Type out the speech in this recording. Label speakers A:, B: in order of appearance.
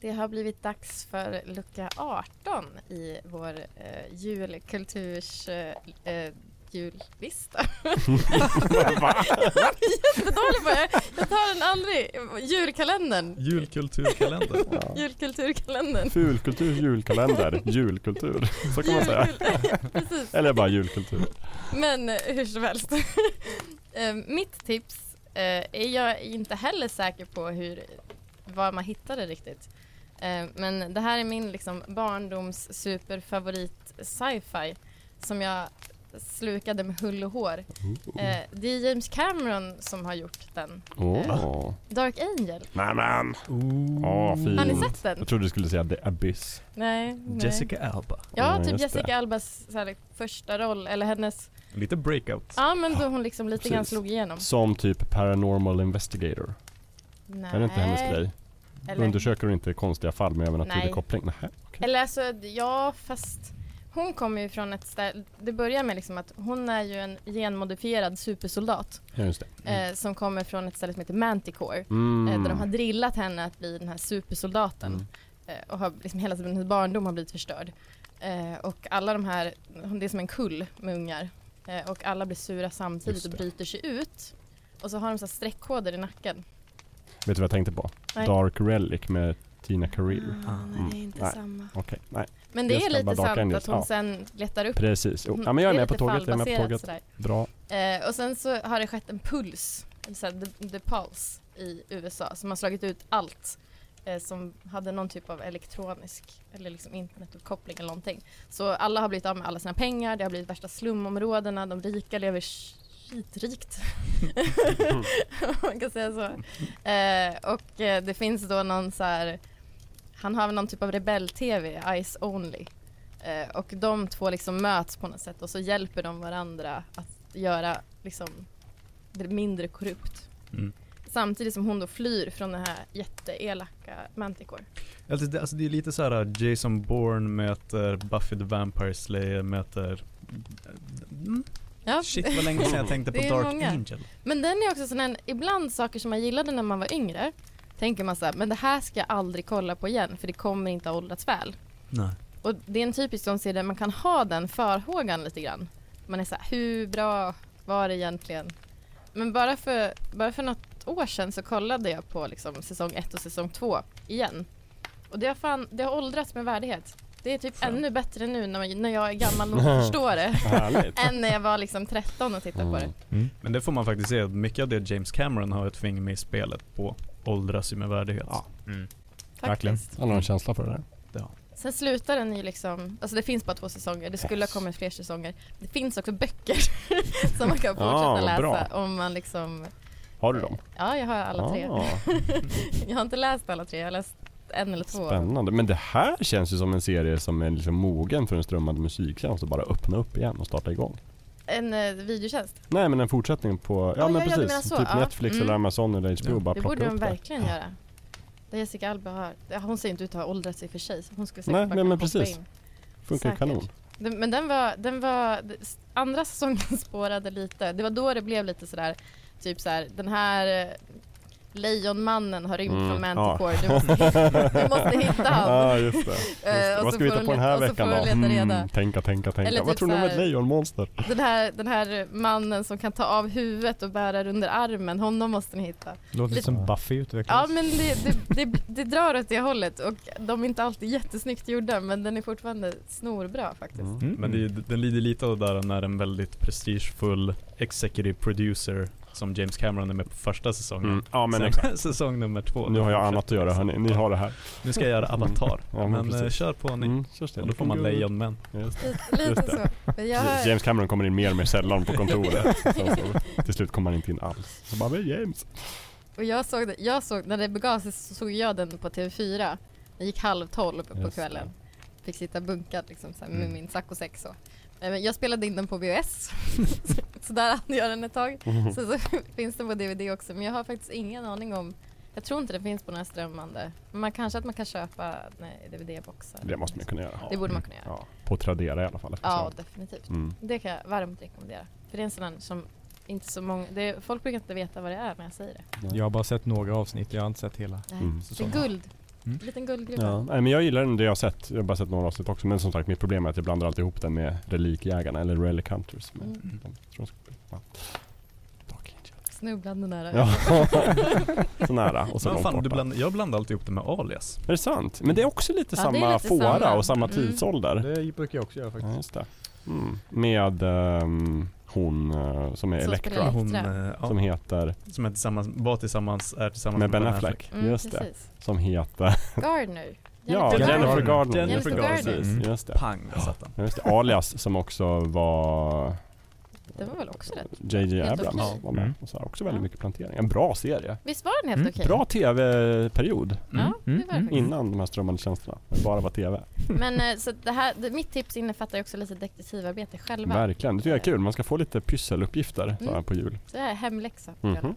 A: Det har blivit dags för lucka 18 i vår eh, julkulturs eh, eh, jullista. Jättedålig på det. Jag tar den aldrig. Julkalendern.
B: Julkulturkalender.
A: Julkulturkalendern.
C: Fulkultur, julkalender, julkultur. Så kan man säga.
A: Julkul- Precis.
C: Eller bara julkultur.
A: Men eh, hur som helst. Eh, Mitt tips eh, är jag inte heller säker på hur, var man hittade riktigt. Eh, Men det här är min liksom barndoms superfavorit sci-fi som jag slukade med hull och hår. Eh, Det är James Cameron som har gjort den.
C: Åh.
A: Dark Angel.
C: Nämen!
B: Ooh.
C: Åh, fint.
A: Har ni sett den?
C: Mm. Jag trodde du skulle säga The Abyss.
A: Nej. nej.
B: Jessica Alba.
C: Ja,
A: Ja, typ
C: just
A: Jessica
C: det.
A: Albas så här, första roll, eller hennes,
B: Lite breakout.
A: ja men då hon liksom lite grann
C: Precis.
A: slog igenom.
C: Som typ Paranormal Investigator.
A: Nej.
C: Är det inte hennes grej?
A: Eller-
C: Undersöker hon inte konstiga fall med övernaturlig
A: Nej.
C: koppling? Nähä.
A: Eller alltså, ja fast hon kommer ju från ett ställe, det börjar med liksom att hon är ju en genmodifierad supersoldat
C: Ja, just det.
A: eh, som kommer från ett ställe som heter Manticore.
C: Mm.
A: Eh, där de har drillat henne att bli den här supersoldaten
C: Mm.
A: eh, och har liksom hela hennes barndom har blivit förstörd. Eh, och alla de här, det är som en kull med ungar eh, och alla blir sura samtidigt
C: Just
A: och
C: det.
A: bryter sig ut. Och så har de så här streckkoder i nacken.
C: Vet du vad jag tänkte på?
A: Nej.
C: Dark Relic med Tina Career.
A: Ah, nej, det är inte
C: Mm. Nej.
A: samma.
C: Okej, nej.
A: Men det
C: Just
A: är
C: det,
A: lite
C: bara Dark
A: sant
C: Angels,
A: att hon
C: ja.
A: sen letar upp
C: Precis. Jo.
A: Mm,
C: Ja, men jag är
A: det
C: med på
A: lite
C: tåget. Jag är med på
A: fallbaserat
C: tåget.
A: sådär.
C: Bra.
A: Eh, och sen så har det skett en puls, eller så här, the, the Pulse i USA som har slagit ut allt eh, som hade någon typ av elektronisk eller liksom internetuppkoppling eller någonting. Så alla har blivit av med alla sina pengar, det har blivit värsta slumområdena, de rika lever skitrikt. Om Man kan säga så. Eh, och eh, det finns då någon så här, han har väl någon typ av rebell-tv, Ice Only. Eh, och de två liksom möts på något sätt och så hjälper de varandra att göra liksom det mindre korrupt.
B: Mm.
A: Samtidigt som hon då flyr från den här jätteelaka Manticore.
B: Alltså det, alltså det är lite så här Jason Bourne möter Buffy the Vampire Slayer möter... Mm,
A: Ja.
B: shit vad länge sedan jag tänkte på
A: Ah. Det är
B: Dark
A: många.
B: Angel.
A: Men den är också sån en, ibland saker som man gillade när man var yngre tänker man så här, men det här ska jag aldrig kolla på igen för det kommer inte ha åldrats väl.
B: Nej.
A: Och det är en typisk sån serie där man kan ha den förhågan lite grann. Man är så här, hur bra var det egentligen? Men bara för, bara för något år sedan så kollade jag på liksom säsong 1 och säsong 2 igen. Och det har, fan, det har åldrats med värdighet. Det är typ
B: Skönt.
A: ännu bättre nu när, man, när jag är gammal och förstår det
C: Härligt.
A: än när jag var liksom 13 och tittade på det.
C: Mm.
D: Mm.
B: Men det får man faktiskt se, att mycket av det James Cameron har ett finger med i spelet på åldras ju med värdighet.
C: Ja.
D: Mm.
C: Verkligen.
A: Faktiskt.
C: Han har en känsla för det där.
A: Sen slutar den ju liksom, alltså det finns bara två säsonger, det skulle ha kommit fler säsonger. Det finns också böcker som man kan
C: Ja,
A: fortsätta
C: vad
A: läsa
C: bra.
A: om man liksom
C: Har du dem?
A: Ja, jag har alla tre.
C: Ah,
A: Jag har inte läst alla tre, jag har läst en eller två.
C: spännande. Men det här känns ju som en serie som är liksom mogen för en strömmande musiktjänst och bara öppna upp igen och starta igång.
A: En eh, videotjänst.
C: Nej men en fortsättning på, ja
A: Ja,
C: men
A: ja, ja, du menar
C: precis.
A: så.
C: typ
A: Ja.
C: Netflix
A: Mm.
C: eller Amazon eller HBO
B: Ja.
C: bara
A: Det
C: plocka
A: borde de
C: upp det.
A: verkligen göra. Det Jessica Alba har, ja, hon ser inte ut att ha åldrats i och för sig. Så hon skulle säkert
C: Nej,
A: bara
C: men-
A: kunna
C: men
A: hoppa
C: precis.
A: in.
C: Funkar
A: Säkert.
C: kanon.
A: Den- Men den var, den var, s- andra säsongen spårade lite. Det var då det blev lite sådär, typ såhär, den här eh, lejonmannen har rymt
C: Mm,
A: från
C: ja.
A: Manticore. Du, måste, du måste hitta
C: Ja
A: han.
C: ah, just det. Just det.
A: Eh, och
C: Vad
A: så
C: ska vi
A: får
C: hitta
A: hon
C: på den
A: leta-
C: här
A: och så
C: veckan
A: får
C: då?
A: hon leta reda.
C: Mm, tänka, tänka, tänka.
A: Eller
C: Vad
A: typ
C: tror ni om
A: så
C: ett
A: här-
C: lejonmonster?
A: Den här, den här mannen som kan ta av huvudet och bära det under armen, honom måste ni hitta.
D: Låter lite som Buffy utvecklas.
A: Ja men det, det, det, det drar åt det hållet och de är inte alltid jättesnyggt gjorda men den är fortfarande snorbra faktiskt.
C: Mm.
D: Mm.
B: Men det, är- den lider lite av det där när en väldigt prestigefull executive producer som James Cameron är med på första säsongen.
C: Mm. Ja men
B: Sen-
C: exakt.
B: Säsong nummer två.
C: Nu har jag annat att göra hörni. Ni har det här.
B: Nu ska jag göra Avatar.
C: Ja, men
B: men eh,
C: precis.
B: kör på ni.
C: Mm, just det.
B: Och då får man lejonmän.
C: Just det.
A: Lite, lite
C: Just det.
A: så. Men jag har,
C: James Cameron kommer in mer och mer sällan på kontoret. Sen så, till slut kommer han inte in alls. Så bara, men James.
A: och jag såg, det- jag såg, när det begav sig så såg jag den på TV4. Den gick halv tolv på
C: Just det.
A: kvällen. Fick sitta bunkad liksom så här, med
B: Mm.
A: min saccosäck så. Eh, men Jag spelade in den på VHS. så där hade jag den ett tag.
C: Mm.
A: Sen så finns den på DVD också men jag har faktiskt ingen aning om jag tror inte det finns på några strömmande. Men man kanske att man kan köpa nej, DVD-boxar.
C: Det måste man kunna göra.
A: Det borde man kunna göra.
C: Ja, på Tradera i alla fall.
A: Ja, definitivt.
C: Mm.
A: Det kan jag varmt rekommendera. För det är en sån här som inte så många, det, folk brukar inte veta vad det är när jag säger det.
D: Jag har bara sett några avsnitt, jag har inte sett hela.
A: Nej.
C: Mm.
A: Det är guld. Liten guldgruva.
C: Ja, nej, men jag gillar den, det jag har sett. Jag har bara sett några avsnitt också. Men som sagt, mitt problem är att jag blandar alltid ihop den med Relikjägarna eller Relic Hunters. Men
A: Mm.
C: jag tror jag ska- ja. Dark Angel.
A: Snubblande nära.
C: Ja, så nära och så
B: Men
C: långt
B: fan,
C: borta.
B: du bland, jag blandar alltid ihop det med alias.
C: Är det sant? Men det är också lite
A: Ja, det är
C: samma
A: lite
C: fåra
A: samma.
C: och samma
A: Mm.
C: tidsålder.
D: Det brukar jag också göra
C: Ja,
D: faktiskt.
C: just det. Mm. Med ehm, hon eh, som är
A: Som
C: Elektra.
A: spelar-
B: Hon,
A: Extra.
B: eh, ja,
C: Som heter,
B: som är tillsammans, var tillsammans, är tillsammans
C: med Ben Affleck.
A: Mm,
C: Just det.
A: precis.
C: Som heter,
A: Gardner.
C: ja,
B: Jennifer
C: Jennifer
B: Garner.
C: Gardner.
B: Jennifer
A: Garner.
C: Precis,
B: Mm.
C: just det.
B: Pang, jag satt den.
C: Ja, just det. Alias som också var
A: Det var väl också rätt.
C: JJ
A: Helt
C: Abrams.
A: okej.
C: Var med.
B: Mm.
C: Och så här, också väldigt
A: Ja.
C: mycket plantering. En bra serie.
A: Visst var den helt
B: Mm,
A: okej? Mm.
C: Bra tv-period.
A: Ja, det var det faktiskt.
C: Innan de här strömmande tjänsterna. Det bara var tv.
A: Men eh, så att det här, det, mitt tips innefattar ju också lite detektivarbete själva. Mm.
C: Verkligen. Det tycker jag är kul. Man ska få lite pysseluppgifter så här på jul.
A: Så det här är hemläxa.
C: Mhm.